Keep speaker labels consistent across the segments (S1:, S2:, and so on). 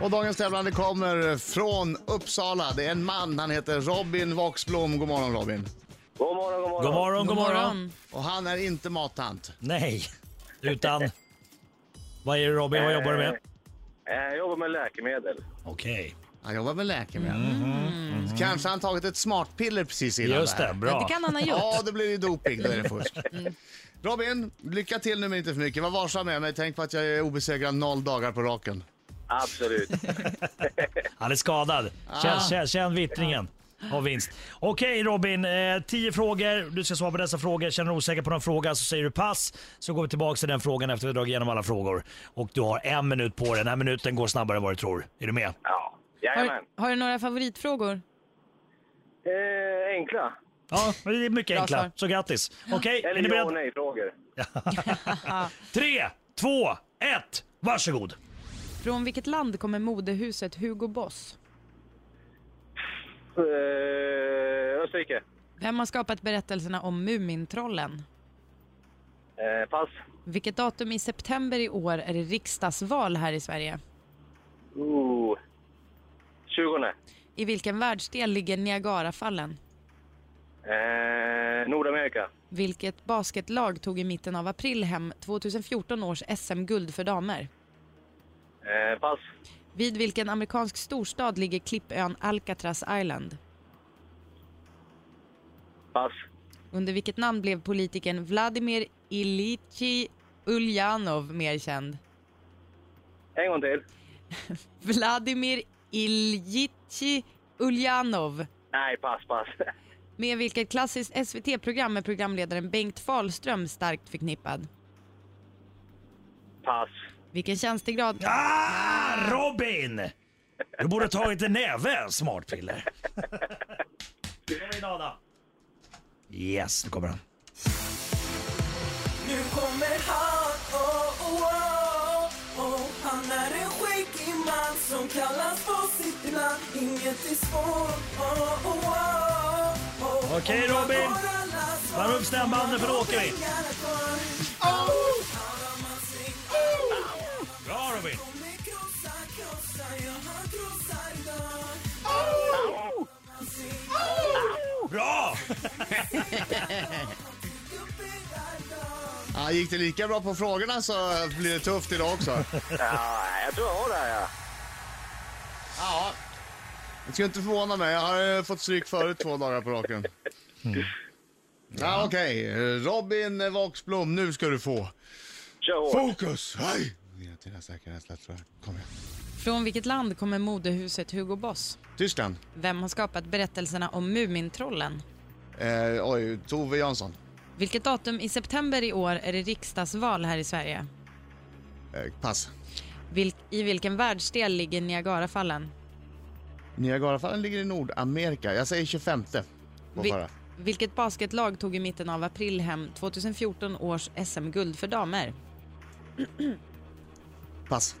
S1: Och dagens tävlande kommer från Uppsala. Det är en man, han heter Robin Vaxblom. God morgon Robin.
S2: God morgon, god morgon.
S3: God morgon, god morgon.
S1: Och han är inte mattant.
S3: Nej, utan... Vad är det Robin, vad jobbar du med?
S2: Eh, Jag jobbar med läkemedel.
S3: Okej,
S1: Han jobbar med läkemedel. Kanske han tagit ett smartpiller precis innan
S3: Mhm. just
S1: här.
S3: det.
S4: Ja,
S3: Bra.
S4: det kan han ha gjort. Mm.
S1: Ja, det blir ju doping. Då är det fusk. Robin, lycka till nu men inte för mycket. Var varsam med mig. Tänk på att jag är obesegrad noll dagar på raken.
S2: Absolut.
S3: Han är skadad.
S4: Ah.
S3: Känn, känn, känn vittringen av vinst. Okej Robin, eh, tio frågor. Du ska svara på dessa frågor. Känner du osäker på någon fråga så säger du pass. Så går vi tillbaka till den frågan efter vi dragit igenom alla frågor. Och du har en minut på dig. Den här minuten går snabbare än vad du tror. Är du med?
S2: Ja.
S4: Har,
S2: Jajamän.
S4: har du några favoritfrågor?
S2: Eh, enkla.
S3: Ja, men det är mycket
S4: Bra
S3: enkla.
S4: svar.
S3: Så grattis. Okej, är ni
S2: Eller ja och
S3: beredda?
S2: nej-frågor.
S3: Tre, två, ett, varsågod.
S4: Från vilket land kommer modehuset Hugo Boss?
S2: Eh, Österrike.
S4: Vem har skapat berättelserna om Mumintrollen?
S2: Eh, pass.
S4: Vilket datum i september i år är det riksdagsval här i Sverige?
S2: Ooh. 20.
S4: I vilken världsdel ligger Niagarafallen?
S2: Eh, Nordamerika.
S4: Vilket basketlag tog i mitten av april hem 2014 års SM-guld för damer?
S2: Eh, pass.
S4: Vid vilken amerikansk storstad ligger klippön Alcatraz Island?
S2: Pass.
S4: Under vilket namn blev politikern Vladimir Ilitji Ulyanov mer känd?
S2: En gång till.
S4: Vladimir Iljitji Ulyanov.
S2: Nej, pass, pass.
S4: Med vilket klassiskt SVT-program är programledaren Bengt Fahlström starkt förknippad?
S2: Pass.
S4: Vilken tjänstegrad?
S3: Ah, Robin! Du borde ha tagit en näve smartpiller. Nu kommer in Ada. Yes, nu kommer han.
S5: Nu kommer han, oh, oh, oh, oh. Han är en skäggig man som kallas på sitt namn Inget är svårt, oh, oh, oh, oh.
S3: Okej,
S5: Om man
S3: Robin.
S5: har alla svar,
S3: Varv upp stämbanden, för då åker vi.
S5: pengarna kvar.
S3: Bra Robin!
S5: Kommer krossa, krossa, ja, han krossar idag.
S3: Bra!
S1: Ja, gick det lika bra på frågorna så blir det tufft idag också.
S2: Ja, Ah, jag tror jag har det här, ja.
S1: Ja. Det skulle inte förvåna mig. Jag har eh, fått stryk förut två dagar på raken. Mm. Ja, Okej, Eh, Robin Vaxblom, nu ska du få.
S2: Kör hårt.
S1: Fokus! Hej! Ner till den säkra rädsla, tror jag. Kom igen.
S4: Från vilket land kommer modehuset Hugo Boss?
S1: Tyskland.
S4: Vem har skapat berättelserna om Mumintrollen?
S1: Eh, oj, Tove Jansson.
S4: Vilket datum i september i år är det riksdagsval här i Sverige?
S1: Eh, pass.
S4: Vilk, I vilken världsdel ligger Niagarafallen?
S1: Niagarafallen ligger i Nordamerika. Jag säger 25. På
S4: Vi-
S1: förra.
S4: vilket basketlag tog i mitten av april hem 2014 års SM-guld för damer?
S1: Pass.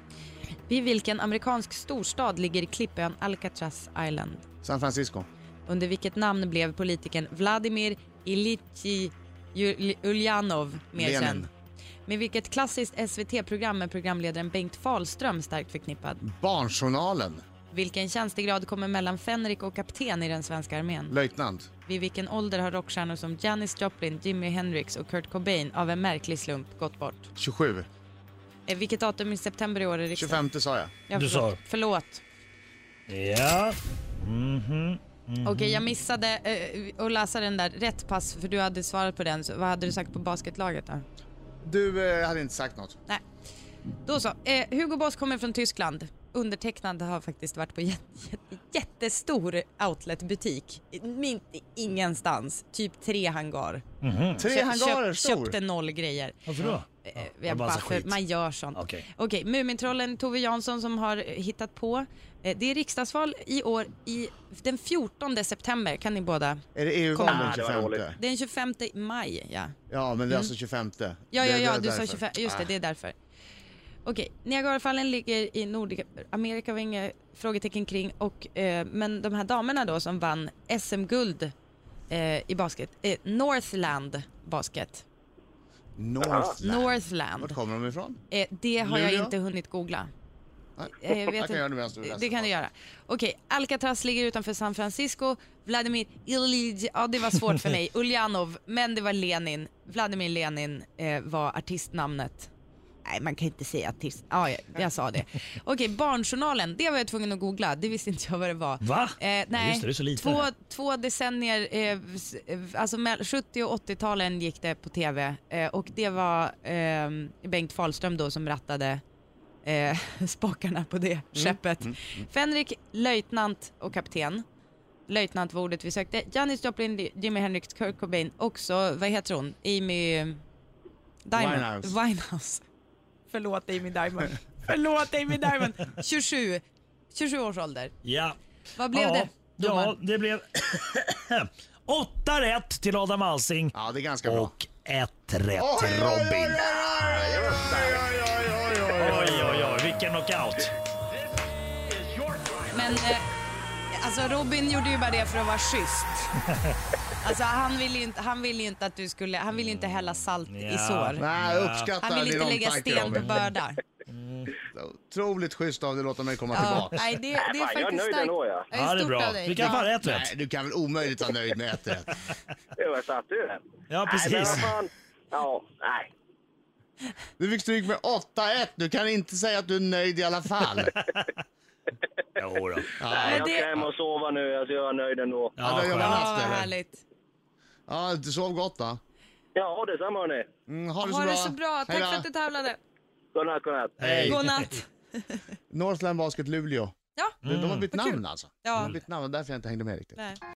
S4: Vid vilken amerikansk storstad ligger klippön Alcatraz Island?
S1: San Francisco.
S4: Under vilket namn blev politikern Vladimir Ilitji Ulyanov mer
S1: Lenin.
S4: känd? Med vilket klassiskt SVT-program är programledaren Bengt Fahlström starkt förknippad?
S1: Mm. Barnjournalen.
S4: Vilken tjänstegrad kommer mellan fänrik och kapten i den svenska armén?
S1: Löjtnant.
S4: Vid vilken ålder har rockstjärnor som Janis Joplin, Jimi Hendrix och Kurt Cobain av en märklig slump gått bort?
S1: 27.
S4: Eh, Vilket datum i september i år är det?
S1: 25 sa jag.
S4: Ja,
S3: Du
S4: förlåt.
S3: sa-
S4: Förlåt.
S3: Ja, Mhm.
S4: Okej, jag missade eh, att läsa den där rätt pass för du hade svarat på den. Så vad hade du sagt på basketlaget då?
S1: Du eh, hade inte sagt något.
S4: Nej. Då så. Eh, Hugo Boss kommer från Tyskland. Undertecknad har faktiskt varit på jätte, jätte, jättestor outletbutik. Mint ingenstans. Typ tre hangar.
S1: Tre hangarer stor.
S4: Köpte noll grejer.
S3: varför då?
S4: Eh,
S3: var
S4: jag
S3: bara
S4: bara,
S3: så
S4: för,
S3: skit.
S4: man gör sånt.
S3: Okej.
S4: Mumintrollen Tove Jansson som har eh, hittat på. Eh, det är riksdagsval i år. I, den 14 september kan ni båda.
S1: Är det EU-val den
S4: Ah,
S2: det var
S1: 25?
S2: dåligt.
S4: Den 25 maj, ja.
S1: Ja, men det är alltså 25.
S4: Mm. Ja, ja, ja, du
S1: därför. Ah.
S4: sa 25. Just det, det är därför. Okej, Niagarafallen ligger i Nordamerika var inga frågetecken kring. Och, eh, men de här damerna då som vann SM-guld eh, i basket, eh, Northland Basket.
S1: Northland.
S4: Northland.
S1: Ah, Vart kommer de ifrån?
S4: Eh, det har jag
S1: Luleå?
S4: inte hunnit googla. Eh, Jag vet
S1: Jag
S4: inte.
S1: kan göra det medan du läser.
S4: Det kan du göra. Okej, Alcatraz ligger utanför San Francisco. Vladimir Ilyich, ja det var svårt för mig. Ulyanov, men det var Lenin. Vladimir Lenin eh, var artistnamnet. Nej, man kan inte säga artist. Ja, jag, jag sa det. Okej, Barnjournalen, det var jag tvungen att googla. Det visste inte jag vad det var.
S3: Va?
S4: Eh, nej,
S3: Just det, det är så lite.
S4: två, två decennier, eh, s- eh, alltså mell- 70 och 80-talen gick det på tv eh, och det var eh, Bengt Fahlström då som rattade eh, spakarna på
S3: Mm.
S4: det skeppet. Fenrik, löjtnant och kapten. Löjtnant var ordet vi sökte. Janis Joplin, Jimi Hendrix, Kurt Cobain, också, vad heter hon, Amy eh, Diamond?
S1: Winehouse.
S4: Winehouse. Förlåt Amy Diamond. Förlåt Amy Diamond. 27, 27 års ålder.
S3: Ja.
S4: Vad blev
S3: ja.
S4: det?
S3: Ja, det blev 8 rätt till Adam Alsing
S1: Ja, det är ganska bra.
S3: och 1 rätt
S1: Oj,
S3: till
S1: oj, oj,
S3: Robin.
S1: oj, oj, oj, oj, oj, oj, oj.
S3: Oj, oj, oj, vilken knockout.
S4: Men eh, alltså Robin gjorde ju bara det för att vara schysst. Alltså han ville ju inte, han ville ju inte att du skulle, han ville inte hälla salt i
S3: Mm, Ja.
S4: sår.
S1: Nej, jag
S4: Han
S1: uppskattar
S4: ville
S1: din
S4: inte lägga
S1: omtanke
S4: sten på
S1: Robin.
S4: börda.
S1: Otroligt schysst av dig att låta mig komma
S4: Ja,
S1: tillbaka.
S4: nej, det, det är
S2: Nej, fan, jag är
S4: faktiskt
S2: nöjd
S4: starkt.
S2: ändå, ja.
S4: är
S3: Ja, det är
S4: stort
S3: bra.
S4: av dig.
S3: Vi kan
S4: Ja.
S3: bara ett rätt.
S1: Nej, du kan väl omöjligt vara nöjd med ett rätt.
S2: Det var satt du den.
S3: Ja,
S2: Nej, men
S3: precis.
S2: vad fan. Ja, nej.
S1: Du fick stryk med 8-1. Du kan inte säga att du är nöjd i alla fall.
S3: Jo då.
S2: nej jag
S4: det-
S2: ska hem och sova nu. Alltså, jag är nöjd ändå.
S1: Ja, det gör man
S3: skönt.
S4: Ja,
S1: haft,
S4: vad
S1: eller?
S4: härligt.
S1: Ja, du sov gott då?
S2: Ja, detsamma hörni.
S1: Mm, ha det så
S4: Ha
S1: bra.
S4: det så bra. Tack
S1: Hej då.
S4: för att du tävlade.
S2: Godnatt, godnatt.
S3: Hej.
S4: God natt. Mm.
S1: Northland Basket Luleå.
S4: Ja,
S1: De- De har bytt
S4: vad kul.
S1: namn alltså.
S4: Ja.
S1: De har bytt namn, därför jag inte hängde med riktigt.
S4: nej.